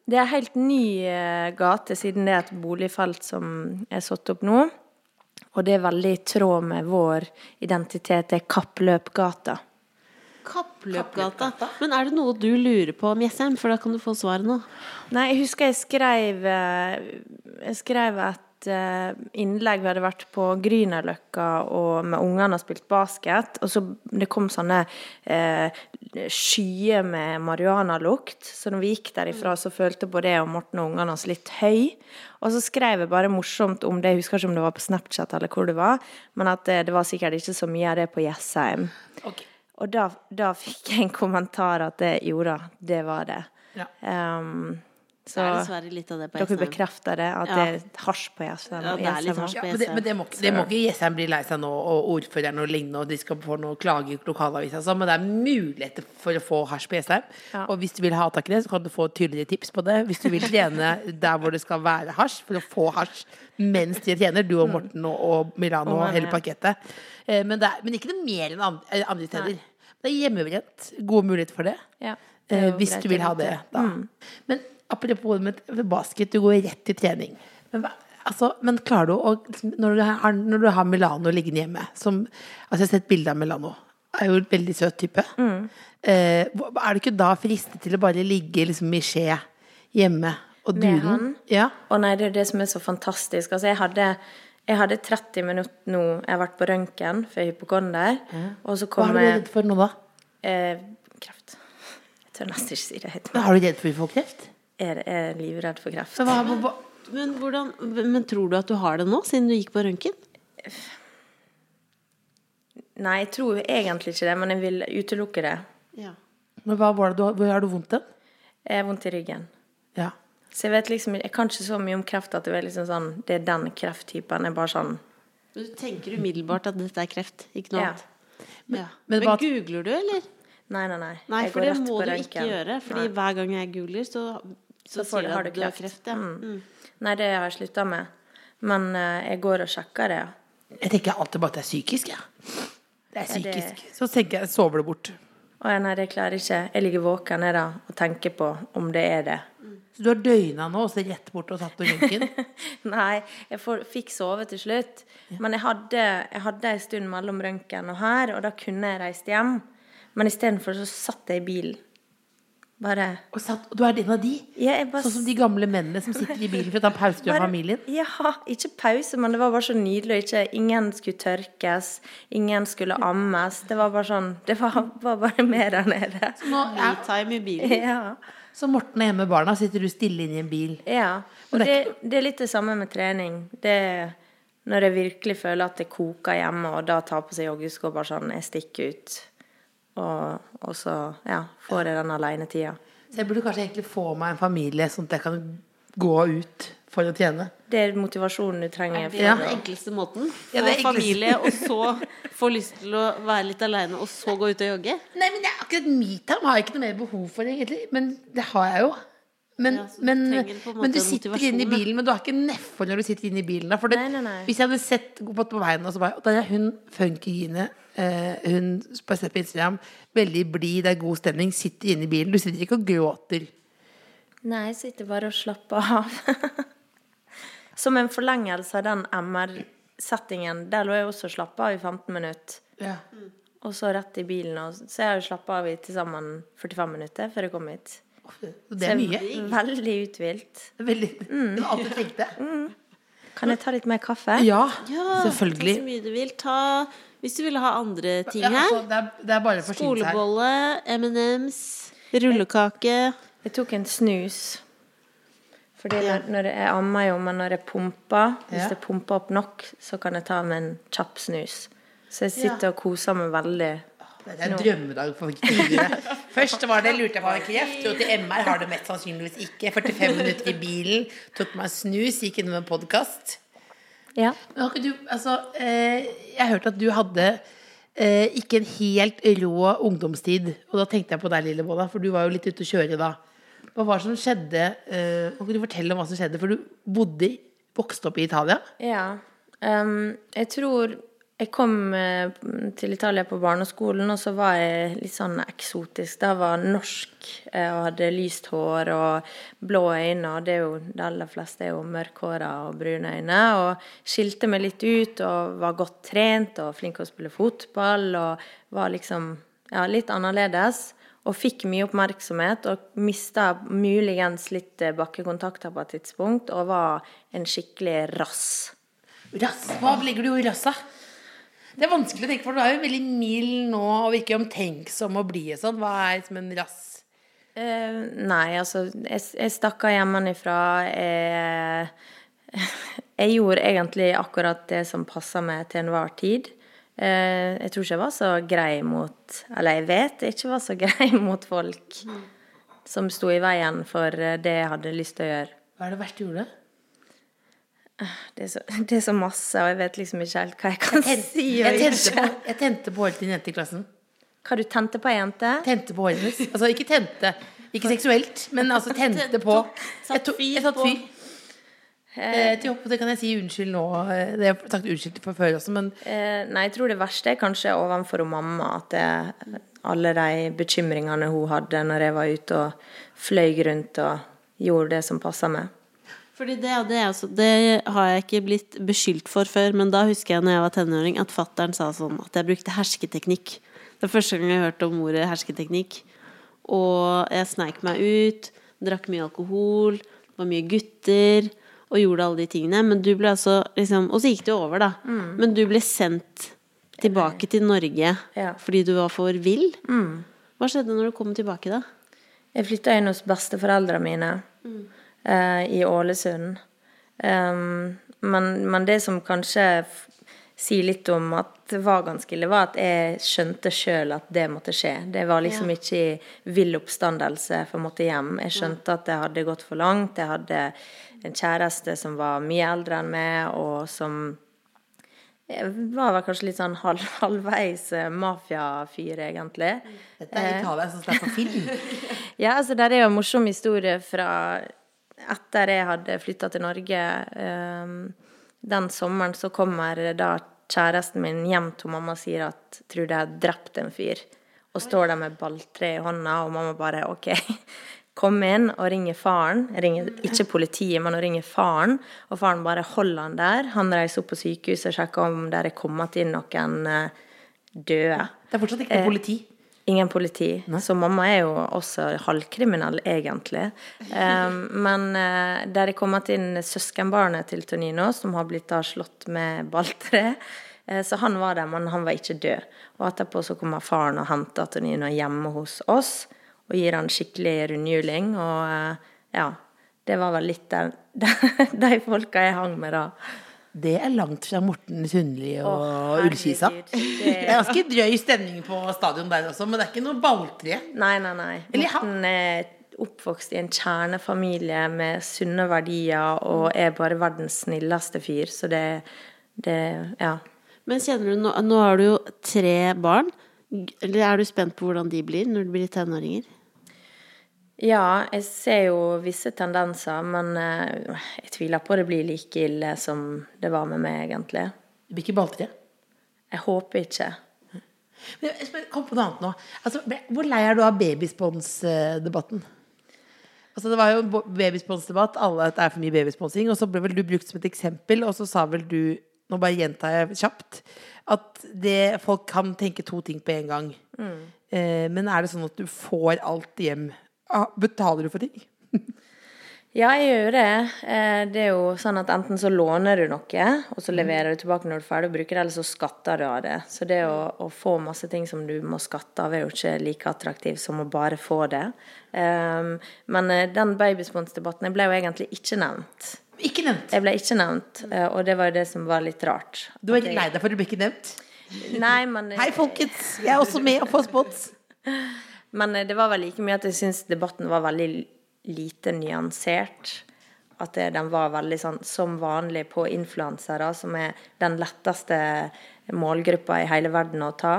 [SPEAKER 2] Det er helt ny eh, gate, siden det er et boligfelt som er satt opp nå. Og det er veldig i tråd med vår identitet. Det er Kappløpgata.
[SPEAKER 5] Kappløpgata. Men er det noe du lurer på om Jessheim? For da kan du få svaret nå.
[SPEAKER 2] Nei, jeg husker jeg skrev eh, Jeg skrev et eh, innlegg vi hadde vært på Grünerløkka og med ungene og spilt basket, og så det kom sånne eh, skyer med marihuanalukt. Så når vi gikk derifra, så følte både jeg og Morten og ungene oss litt høy. Og så skrev jeg bare morsomt om det, jeg husker ikke om det var på Snapchat eller hvor det var, men at eh, det var sikkert ikke så mye av det på Jessheim. Og da, da fikk jeg en kommentar at det, jo da, det var det.
[SPEAKER 4] Ja.
[SPEAKER 2] Ehm,
[SPEAKER 5] Det
[SPEAKER 2] så
[SPEAKER 5] er dessverre litt av det på
[SPEAKER 2] dere
[SPEAKER 5] Jessheim.
[SPEAKER 2] bekrefter det, at
[SPEAKER 5] Ja.
[SPEAKER 2] det er hasj på Jessheim?
[SPEAKER 5] Ja,
[SPEAKER 2] og
[SPEAKER 5] det er litt
[SPEAKER 2] Jessheim
[SPEAKER 5] hasj.
[SPEAKER 2] har-
[SPEAKER 4] Ja, men det, men det, må, ikke- det må ikke Jessheim bli lei seg nå, og ordføreren og lignende, og de skal få noe klage i lokalavisa og sånn, men det er muligheter for å få hasj på Jessheim.
[SPEAKER 2] Ja.
[SPEAKER 4] Og hvis du vil ha tak i det, så kan du få tydeligere tips på det. Hvis du vil trene der hvor det skal være hasj, for å få hasj mens de trener, du og Morten og, og Milano Mm. og
[SPEAKER 2] Og
[SPEAKER 4] hele
[SPEAKER 2] meg.
[SPEAKER 4] pakettet. Eh, Men, det er, men ikke noe mer enn andre, eh, andre steder. Det er hjemmebrent. Gode muligheter for det.
[SPEAKER 2] Ja, det er
[SPEAKER 4] Eh,
[SPEAKER 2] jo
[SPEAKER 4] hvis
[SPEAKER 2] greit
[SPEAKER 4] du vil
[SPEAKER 2] å
[SPEAKER 4] ha
[SPEAKER 2] vite.
[SPEAKER 4] det, da. Men apropos med med basket, du går rett til trening. Men, hva- altså, men klarer du å liksom, når du, har, når du har Milano liggende hjemme som, altså Jeg har sett bilde av Milano. Er jo en veldig søt type. Eh, hva- er du ikke da fristet til å bare ligge liksom, i skje hjemme og
[SPEAKER 2] Med
[SPEAKER 4] dune?
[SPEAKER 2] han?
[SPEAKER 4] Ja.
[SPEAKER 2] Å nei, det er det som er så fantastisk. Altså, jeg hadde, jeg hadde 30 minutter nå Jeg har vært på røntgen for hypokonder. Og så
[SPEAKER 4] Hva er
[SPEAKER 2] kom
[SPEAKER 4] du
[SPEAKER 2] jeg
[SPEAKER 4] redd for nå, da?
[SPEAKER 2] eh, kreft. Tør nesten ikke si det høyt.
[SPEAKER 4] Men er du redd for å få kreft?
[SPEAKER 2] Jeg er livredd for kreft.
[SPEAKER 4] Så hva, hva, hva?
[SPEAKER 5] Men, hvordan, men tror du at du har det nå, siden du gikk på røntgen?
[SPEAKER 2] Nei, jeg tror egentlig ikke det, men jeg vil utelukke det.
[SPEAKER 5] Ja.
[SPEAKER 4] Men hva var det du, hvor har du vondt den?
[SPEAKER 2] Jeg har vondt i ryggen.
[SPEAKER 4] Ja.
[SPEAKER 2] Så jeg vet liksom Jeg kan ikke så mye om kreft at det er liksom sånn Det er den krefttypen. Jeg er bare sånn
[SPEAKER 5] Men du tenker umiddelbart at dette er kreft, ikke noe
[SPEAKER 2] Ja.
[SPEAKER 5] annet? Ja.
[SPEAKER 4] men
[SPEAKER 5] Men,
[SPEAKER 4] hva-
[SPEAKER 5] googler du, eller?
[SPEAKER 2] Nei, nei, nei.
[SPEAKER 5] Nei,
[SPEAKER 2] jeg
[SPEAKER 5] for
[SPEAKER 2] går
[SPEAKER 5] det
[SPEAKER 2] rett
[SPEAKER 5] må
[SPEAKER 2] på
[SPEAKER 5] du ikke
[SPEAKER 2] røntgen.
[SPEAKER 5] gjøre. Fordi
[SPEAKER 2] nei.
[SPEAKER 5] hver gang jeg googler, så, så,
[SPEAKER 2] Så får
[SPEAKER 5] sier
[SPEAKER 2] du-
[SPEAKER 5] det
[SPEAKER 2] har
[SPEAKER 5] at
[SPEAKER 2] du
[SPEAKER 5] du har
[SPEAKER 2] kreft.
[SPEAKER 5] kreft. Ja.
[SPEAKER 2] Mm.
[SPEAKER 5] Mm.
[SPEAKER 2] nei, det har jeg slutta med. Men eh, jeg går og sjekker det. ja.
[SPEAKER 4] Jeg tenker alltid bare at det er psykisk, jeg. Det er
[SPEAKER 2] Ja, det-
[SPEAKER 4] psykisk. Så tenker jeg, sover det bort.
[SPEAKER 2] Å ja, nei, det klarer jeg ikke. Jeg ligger våken jeg da, og tenker på om det er det.
[SPEAKER 4] Så du har døgna nå og så rett bort og tatt noe røntgen?
[SPEAKER 2] Nei, jeg får, fikk sove til slutt. Men jeg hadde, jeg hadde en stund mellom røntgen og her, og da kunne jeg reist hjem. Men istedenfor så satt jeg i bilen. Bare
[SPEAKER 4] Og satt, og du er en av de?
[SPEAKER 2] Ja, jeg bare
[SPEAKER 4] Sånn som de gamle mennene som sitter i bilen for å ta pause med
[SPEAKER 2] Bare-
[SPEAKER 4] familien?
[SPEAKER 2] Ja, ikke pause, men det var bare så nydelig. og Ikke, ingen skulle tørkes, ingen skulle ammes. Det var bare sånn Det var, var bare mer der nede.
[SPEAKER 4] Nå, ja.
[SPEAKER 5] Me-time i bilen.
[SPEAKER 2] Ja.
[SPEAKER 4] Så Morten er hjemme med barna, sitter du stille inne i en bil.
[SPEAKER 2] ja. Og det, det er litt det samme med trening. Det er når jeg virkelig føler at det koker hjemme, og da tar på seg joggesko og bare sånn Jeg stikker ut. Og, og så ja, får jeg den alenetida.
[SPEAKER 4] Så jeg burde kanskje egentlig få meg en familie, sånn at jeg kan gå ut for å tjene.
[SPEAKER 2] Det er motivasjonen du trenger. For,
[SPEAKER 5] Det er den enkleste måten. Få
[SPEAKER 4] Ja, det er enklest.
[SPEAKER 5] familie, og så få lyst til å være litt aleine, og så gå ut og jogge.
[SPEAKER 4] Nei, men det er akkurat metime har jeg ikke noe mer behov for, egentlig. Men det har jeg jo. Men,
[SPEAKER 5] Ja, så du
[SPEAKER 4] men,
[SPEAKER 5] trenger på en måte
[SPEAKER 4] men du sitter inne i
[SPEAKER 5] motivasjonen, da.
[SPEAKER 4] bilen, men du har ikke nedfor når du sitter inne i bilen. Da, for det,
[SPEAKER 2] Nei, nei, nei.
[SPEAKER 4] Hvis jeg hadde sett gått på veien og så bare Der er hun funkygine, eh, hun på jeg ser på Instagram, veldig blid, det er god stemning, sitter inne i bilen. Du sitter ikke og gråter.
[SPEAKER 2] Nei, jeg sitter bare og slapper av. Som en forlengelse av den MR-settingen. Der lå jeg også og slappa av i 15 minutter.
[SPEAKER 4] Ja.
[SPEAKER 2] Og så rett i bilen. Og så jeg har jo slappa av i til sammen 45 minutter før jeg kom hit.
[SPEAKER 4] Så det er mye.
[SPEAKER 2] Veldig uthvilt.
[SPEAKER 4] Det er Veldig, Det var alt du tenkte.
[SPEAKER 2] Kan jeg ta litt mer kaffe?
[SPEAKER 4] Ja,
[SPEAKER 5] Ja,
[SPEAKER 4] selvfølgelig.
[SPEAKER 5] Ta så mye du vil. Ta, hvis du vil ha andre ting
[SPEAKER 4] Ja, altså,
[SPEAKER 5] her.
[SPEAKER 4] det, er, det er bare å forsyne seg.
[SPEAKER 5] Skolebolle, M&M's, rullekake.
[SPEAKER 2] Jeg tok en snus. Fordi når, når jeg ammer jo, men når jeg pumper, hvis
[SPEAKER 4] Ja.
[SPEAKER 2] jeg pumper opp nok, så kan jeg ta meg en kjapp snus. Så jeg sitter og koser meg veldig.
[SPEAKER 4] Det er en drømmedag for kvinner. Først var det lurte jeg på om jeg hadde kreft, og til MR har det mest sannsynligvis ikke. 45 minutter i bilen, tok meg en snus, gikk inn med en podkast.
[SPEAKER 2] Ja.
[SPEAKER 4] Men har ikke du, altså, eh, jeg hørte at du hadde eh, ikke en helt rå ungdomstid. Og da tenkte jeg på deg, Lillebolla, for du var jo litt ute å kjøre da. Hva var det som skjedde? Eh, kan ikke du fortelle om hva som skjedde? For du bodde, i- vokste opp i Italia.
[SPEAKER 2] Ja. Ehm, jeg tror jeg kom eh, til Italia på barneskolen, og så var jeg litt sånn eksotisk. Da var jeg norsk eh, og hadde lyst hår og blå øyne, og det er jo de aller fleste er jo mørkhåra og brune øyne. Og skilte meg litt ut og var godt trent og flink til å spille fotball og var liksom ja, litt annerledes. Og fikk mye oppmerksomhet og mista muligens litt eh, bakkekontakter på et tidspunkt. Og var en skikkelig rass.
[SPEAKER 4] Rass, hva legger du i rassa? Det er vanskelig å tenke, for du er jo veldig mild nå og virker omtenksom og blid og sånn. Hva er som en rass?
[SPEAKER 2] Eh, nei, altså Jeg, jeg stakk av hjemmefra. Jeg, jeg gjorde egentlig akkurat det som passa meg til enhver tid. Eh, jeg tror ikke jeg var så grei mot Eller jeg vet jeg ikke var så grei mot folk som sto i veien for eh, det jeg hadde lyst til å gjøre.
[SPEAKER 4] Hva er det verste du gjorde?
[SPEAKER 2] Det er, så, det er så masse, og jeg vet liksom ikke helt hva jeg kan si. og
[SPEAKER 4] jeg, tente
[SPEAKER 2] ikke.
[SPEAKER 4] på, jeg tente på håret til en jente i klassen.
[SPEAKER 2] Hva du tente på ei jente?
[SPEAKER 4] Tente på håret hennes. Altså ikke tente, ikke seksuelt, men altså tente på. Jeg tok- jeg satte fyr. Eh, til opp, det kan jeg si unnskyld nå. eh, Det har jeg sagt unnskyld for før også, men
[SPEAKER 2] Eh, nei, jeg tror det verste er kanskje overfor mamma. At jeg, alle de bekymringene hun hadde når jeg var ute og fløy rundt og gjorde det som passa meg.
[SPEAKER 5] Fordi det, hadde jeg også, det har jeg ikke blitt beskyldt for før, men da husker jeg når jeg var tenåring, at fattern sa sånn at jeg brukte hersketeknikk. Det er første gang jeg hørte om ordet hersketeknikk. Og jeg sneik meg ut, drakk mye alkohol, var mye gutter og gjorde alle de tingene. Men du ble altså liksom Og så gikk det jo over, da. Men du ble sendt tilbake til Norge
[SPEAKER 2] Ja.
[SPEAKER 5] fordi du var for vill. Hva skjedde når du kom tilbake, da?
[SPEAKER 2] Jeg flytta inn hos besteforeldrene mine eh, i Ålesund. Um, men, men det som kanskje f- sier litt om at det var ganske ille, var at jeg skjønte sjøl at det måtte skje. Det var liksom ikke i vill oppstandelse for å måtte hjem. Jeg skjønte at det hadde gått for langt. Jeg hadde en kjæreste som var mye eldre enn meg, og som jeg var vel kanskje litt sånn halv, halvveis eh, mafiafyr, egentlig.
[SPEAKER 4] Dette er Italia som snakker film.
[SPEAKER 2] Ja, altså der er jo en morsom historie fra etter jeg hadde flytta til Norge. Ehm, Den sommeren så kommer da kjæresten min hjem til mamma og sier at 'tror du jeg har drept en fyr'. Og står der med balltre i hånda, og mamma bare 'OK, kom inn', og ringer faren. Jeg Ringer ikke politiet, men hun ringer faren, og faren bare holder han der. Han reiser opp på sykehuset og sjekker om det er kommet inn noen eh, døde.
[SPEAKER 4] Det er fortsatt ikke noe politi.
[SPEAKER 2] Ingen politi. Så mamma er jo også halvkriminell, egentlig. Eh, men eh, der er kommet inn søskenbarnet til Tonino, som har blitt da slått med balltre. Eh, så han var der, men han var ikke død. Og etterpå så kommer faren og henter Tonino hjemme hos oss og gir han skikkelig rundhjuling. Og eh, ja, det var vel litt der, de folka jeg hang med da.
[SPEAKER 4] Det er langt fra Morten Sundli og
[SPEAKER 2] Å,
[SPEAKER 4] Ullkisa.
[SPEAKER 2] herregud,
[SPEAKER 4] Det
[SPEAKER 2] det-
[SPEAKER 4] er ganske drøy stemning på stadion der også, men det er ikke noe balltre.
[SPEAKER 2] Nei, nei, nei.
[SPEAKER 4] Eller ja.
[SPEAKER 2] Morten er oppvokst i en kjernefamilie med sunne verdier og er bare verdens snilleste fyr, så det, det Ja.
[SPEAKER 5] Men kjenner du nå, nå har du jo tre barn. G- Eller er du spent på hvordan de blir når de blir tenåringer?
[SPEAKER 2] Ja, jeg ser jo visse tendenser, men eh, jeg tviler på det blir like ille som det var med meg, egentlig.
[SPEAKER 4] Det blir ikke balltre.
[SPEAKER 2] Jeg håper ikke.
[SPEAKER 4] Men jeg spør- kom på noe annet nå. Altså, ble- hvor lei er du av babyspons-debatten? Altså, det var jo en bo- babyspons-debatt. Alle at det er for mye babysponsing. Og så ble vel du brukt som et eksempel, og så sa vel du Nå bare gjentar jeg kjapt. At det, folk kan tenke to ting på en gang. Eh, men er det sånn at du får alt hjem? Ah, Betaler du for ting?
[SPEAKER 2] Ja, jeg gjør jo det. Eh, Det er jo sånn at enten så låner du noe, og så leverer du tilbake når du er ferdig å bruke det, eller så skatter du av det. Så det å, å få masse ting som du må skatte av, er jo ikke like attraktivt som å bare få det. Ehm, men eh, den babysponsdebatten jeg ble jo egentlig ikke nevnt.
[SPEAKER 4] Ikke nevnt.
[SPEAKER 2] Jeg ble ikke nevnt, eh, og det var jo det som var litt rart.
[SPEAKER 4] Du er ikke lei deg for at du blir ikke nevnt?
[SPEAKER 2] Nei, men eh,
[SPEAKER 4] Hei, folkens! Jeg er også med og får spons.
[SPEAKER 2] Men eh, det var vel like mye at jeg syns debatten var veldig lite nyansert. At det, den var veldig sånn som vanlig på influensere, som er den letteste målgruppa i hele verden å ta.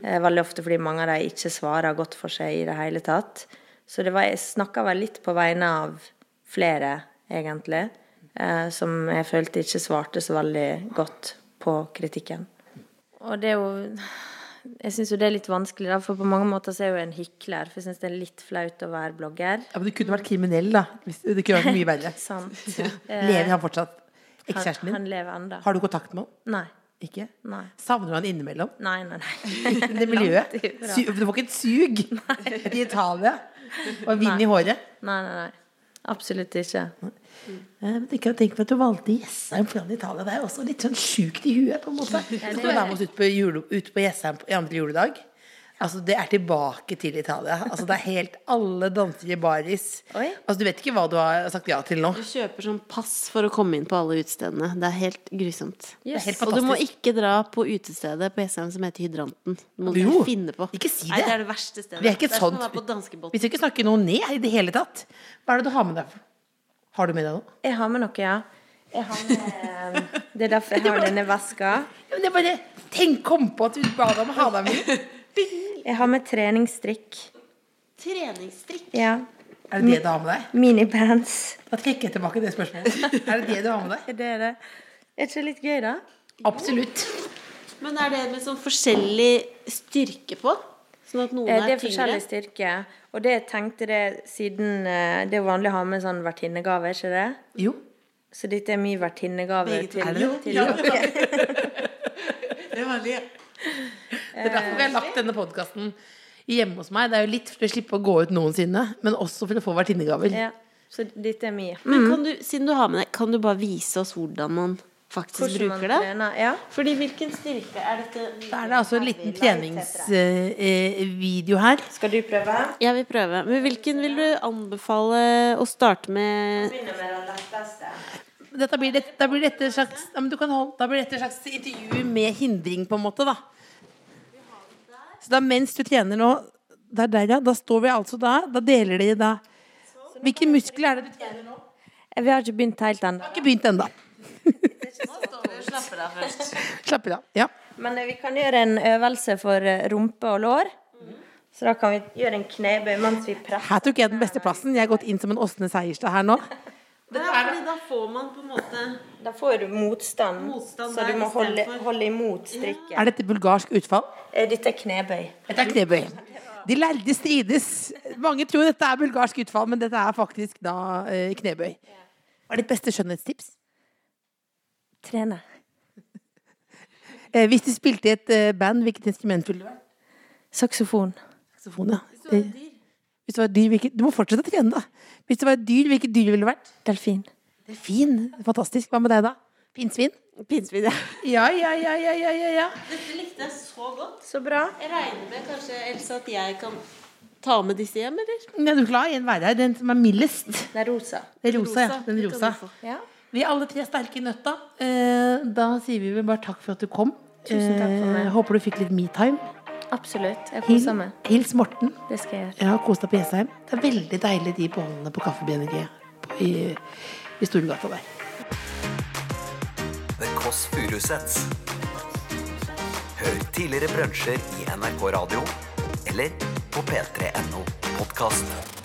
[SPEAKER 2] Eh, Veldig ofte fordi mange av de ikke svarer godt for seg i det hele tatt. Så det var, jeg snakka vel litt på vegne av flere, egentlig, eh, som jeg følte ikke svarte så veldig godt på kritikken. Og det er jo Jeg syns jo det er litt vanskelig, da, for på mange måter så er jeg jo en hykler. For jeg syns det er litt flaut å være blogger.
[SPEAKER 4] Ja, men du kunne vært kriminell, da. Hvis- Det kunne vært mye verre.
[SPEAKER 2] Sant.
[SPEAKER 4] Lever han fortsatt?
[SPEAKER 2] Han,
[SPEAKER 4] Ekskjæresten
[SPEAKER 2] han
[SPEAKER 4] din?
[SPEAKER 2] lever ennå.
[SPEAKER 4] Har du kontakt med han?
[SPEAKER 2] Nei.
[SPEAKER 4] Ikke?
[SPEAKER 2] Nei.
[SPEAKER 4] Savner du han innimellom?
[SPEAKER 2] Nei, nei, nei.
[SPEAKER 4] Det miljøet?
[SPEAKER 2] Langt ifra.
[SPEAKER 4] Su du får ikke et sug i Italia? Og vind i håret?
[SPEAKER 2] nei, nei, nei. Absolutt ikke.
[SPEAKER 4] Eh, Men tenk, tenk på at du valgte Jessheim foran Italia. Det er jo også litt sånn sjukt i huet, på en måte. Så skal du være med oss ut på, jule, ut på Jessheim i andre juledag. Altså, Det er tilbake til Italia. Altså, Det er helt alle danser i baris.
[SPEAKER 2] Oi.
[SPEAKER 4] Altså, Du vet ikke hva du har sagt ja til nå.
[SPEAKER 5] Du kjøper sånn pass for å komme inn på alle utestedene. Det er helt grusomt.
[SPEAKER 2] Yes.
[SPEAKER 4] helt
[SPEAKER 5] Og du må
[SPEAKER 4] fantastisk.
[SPEAKER 5] ikke dra på utestedet på Jessheim som heter Hydranten. Det må du
[SPEAKER 4] Jo,
[SPEAKER 5] ikke finne på.
[SPEAKER 4] ikke si
[SPEAKER 5] Nei,
[SPEAKER 4] det.
[SPEAKER 5] det er det verste stedet.
[SPEAKER 4] Vi er ikke et
[SPEAKER 5] det er som å
[SPEAKER 4] sånt-
[SPEAKER 5] være på danskebåten.
[SPEAKER 4] Vi skal ikke snakke noe ned i det hele tatt. Hva er det du har med deg? Har du med deg noe?
[SPEAKER 2] Jeg har med noe, ja. Jeg har med eh, Det er derfor jeg har denne veska.
[SPEAKER 4] Ja, men jeg bare tenk, kom på at du ba deg om å ha deg med.
[SPEAKER 2] Jeg har med treningsstrikk.
[SPEAKER 5] Treningsstrikk.
[SPEAKER 2] Ja.
[SPEAKER 4] Er det det du har med deg?
[SPEAKER 2] Minibands.
[SPEAKER 4] Da trekker jeg tilbake det spørsmålet. Er det det du har med deg?
[SPEAKER 2] Er det det? Er ikke det litt gøy, da?
[SPEAKER 4] Absolutt.
[SPEAKER 5] Men er det med sånn forskjellig styrke på? Sånn at noen
[SPEAKER 2] Eh, Det
[SPEAKER 5] er
[SPEAKER 2] er forskjellig
[SPEAKER 5] tyngre?
[SPEAKER 2] styrke. Og det jeg tenkte det siden eh, Det er vanlig å ha med sånn vertinnegave, er ikke det?
[SPEAKER 4] Jo.
[SPEAKER 2] Så dette er min vertinnegave
[SPEAKER 5] Begge to.
[SPEAKER 2] til,
[SPEAKER 4] det det?
[SPEAKER 2] til
[SPEAKER 4] Ja.
[SPEAKER 2] dere.
[SPEAKER 7] Det er vanlig.
[SPEAKER 4] Det er derfor vi har lagt denne podkasten hjemme hos meg. Det er jo litt for å slippe å gå ut noensinne, men også for å få vertinnegaver.
[SPEAKER 2] Ja. Så dette er min.
[SPEAKER 4] Mm.
[SPEAKER 5] Men kan du, siden du har med deg, kan du bare vise oss hvordan man faktisk
[SPEAKER 2] Hvordan man
[SPEAKER 5] bruker det.
[SPEAKER 2] trener. Ja.
[SPEAKER 5] Fordi hvilken styrke er dette?
[SPEAKER 4] Da er det altså en liten treningsvideo her.
[SPEAKER 2] Skal du prøve?
[SPEAKER 5] Jeg vil prøve. Men hvilken vil du anbefale å starte med?
[SPEAKER 2] Begynne med den letteste.
[SPEAKER 4] Dette blir det, da blir dette et slags, ja, men du kan holde, da blir dette et slags intervju med hindring, på en måte, da. Så da mens du trener nå Det er der, ja. Da står vi altså da. Da deler dere da. Hvilke muskler er det du trener nå? Jeg
[SPEAKER 2] Eh, Vi har ikke begynt helt ennå.
[SPEAKER 4] har ikke begynt ennå. Slapper av. Ja.
[SPEAKER 2] Men eh, vi kan gjøre en øvelse for eh, rumpe og lår. Så da kan vi gjøre en knebøy mens vi presser.
[SPEAKER 4] Her tok jeg den beste plassen. Jeg har gått inn som en Åsne Seierstad her nå.
[SPEAKER 5] Det er fordi da får man på en måte
[SPEAKER 2] Da får du motstand,
[SPEAKER 5] Motstand
[SPEAKER 2] så
[SPEAKER 5] der
[SPEAKER 2] du må holde,
[SPEAKER 5] istedenfor.
[SPEAKER 2] holde imot strikken.
[SPEAKER 4] Er dette bulgarsk utfall?
[SPEAKER 2] Eh, Dette er knebøy.
[SPEAKER 4] Dette er knebøy. De lærde strides. Mange tror dette er bulgarsk utfall, men dette er faktisk da eh, knebøy. Hva er ditt beste skjønnhetstips?
[SPEAKER 2] Trene.
[SPEAKER 4] Eh, hvis du spilte i et eh, band, hvilket instrument ville du vært?
[SPEAKER 2] Saksofon.
[SPEAKER 4] Saksofon, ja. Eh, Hvis det var et dyr, hvilket Du må fortsette å trene, da. Hvis det var et dyr, hvilket dyr ville du vært?
[SPEAKER 2] Delfin.
[SPEAKER 4] Delfin. Fantastisk. Hva med deg, da? Pinnsvin?
[SPEAKER 5] pinnsvin. ja.
[SPEAKER 4] Ja, ja, ja, ja, ja, ja, ja.
[SPEAKER 5] Dette likte jeg så godt.
[SPEAKER 2] Så bra.
[SPEAKER 5] Jeg regner med kanskje Else at jeg kan ta med disse hjem, eller?
[SPEAKER 4] Men Er du glad i en være her? Den som er mildest?
[SPEAKER 2] Det er rosa.
[SPEAKER 4] Det er rosa, ja. Den
[SPEAKER 5] Litt
[SPEAKER 4] rosa.
[SPEAKER 5] rosa.
[SPEAKER 2] Ja.
[SPEAKER 4] Vi er alle tre sterke i nøtta. Eh, da sier vi vel bare takk for at du kom.
[SPEAKER 2] Tusen takk for meg.
[SPEAKER 4] Eh, håper du fikk litt metime.
[SPEAKER 2] Absolutt. Jeg
[SPEAKER 4] Hil,
[SPEAKER 2] koser meg.
[SPEAKER 4] hils Morten.
[SPEAKER 2] Det skal jeg gjøre.
[SPEAKER 4] Ja, kos deg på Jessheim. Det er veldig deilig de bollene på Kaffebrenneriet på- i, i Storgata der.
[SPEAKER 1] The Kåss Furuseths. Hør tidligere brunsjer i NRK Radio eller på p3.no podkast.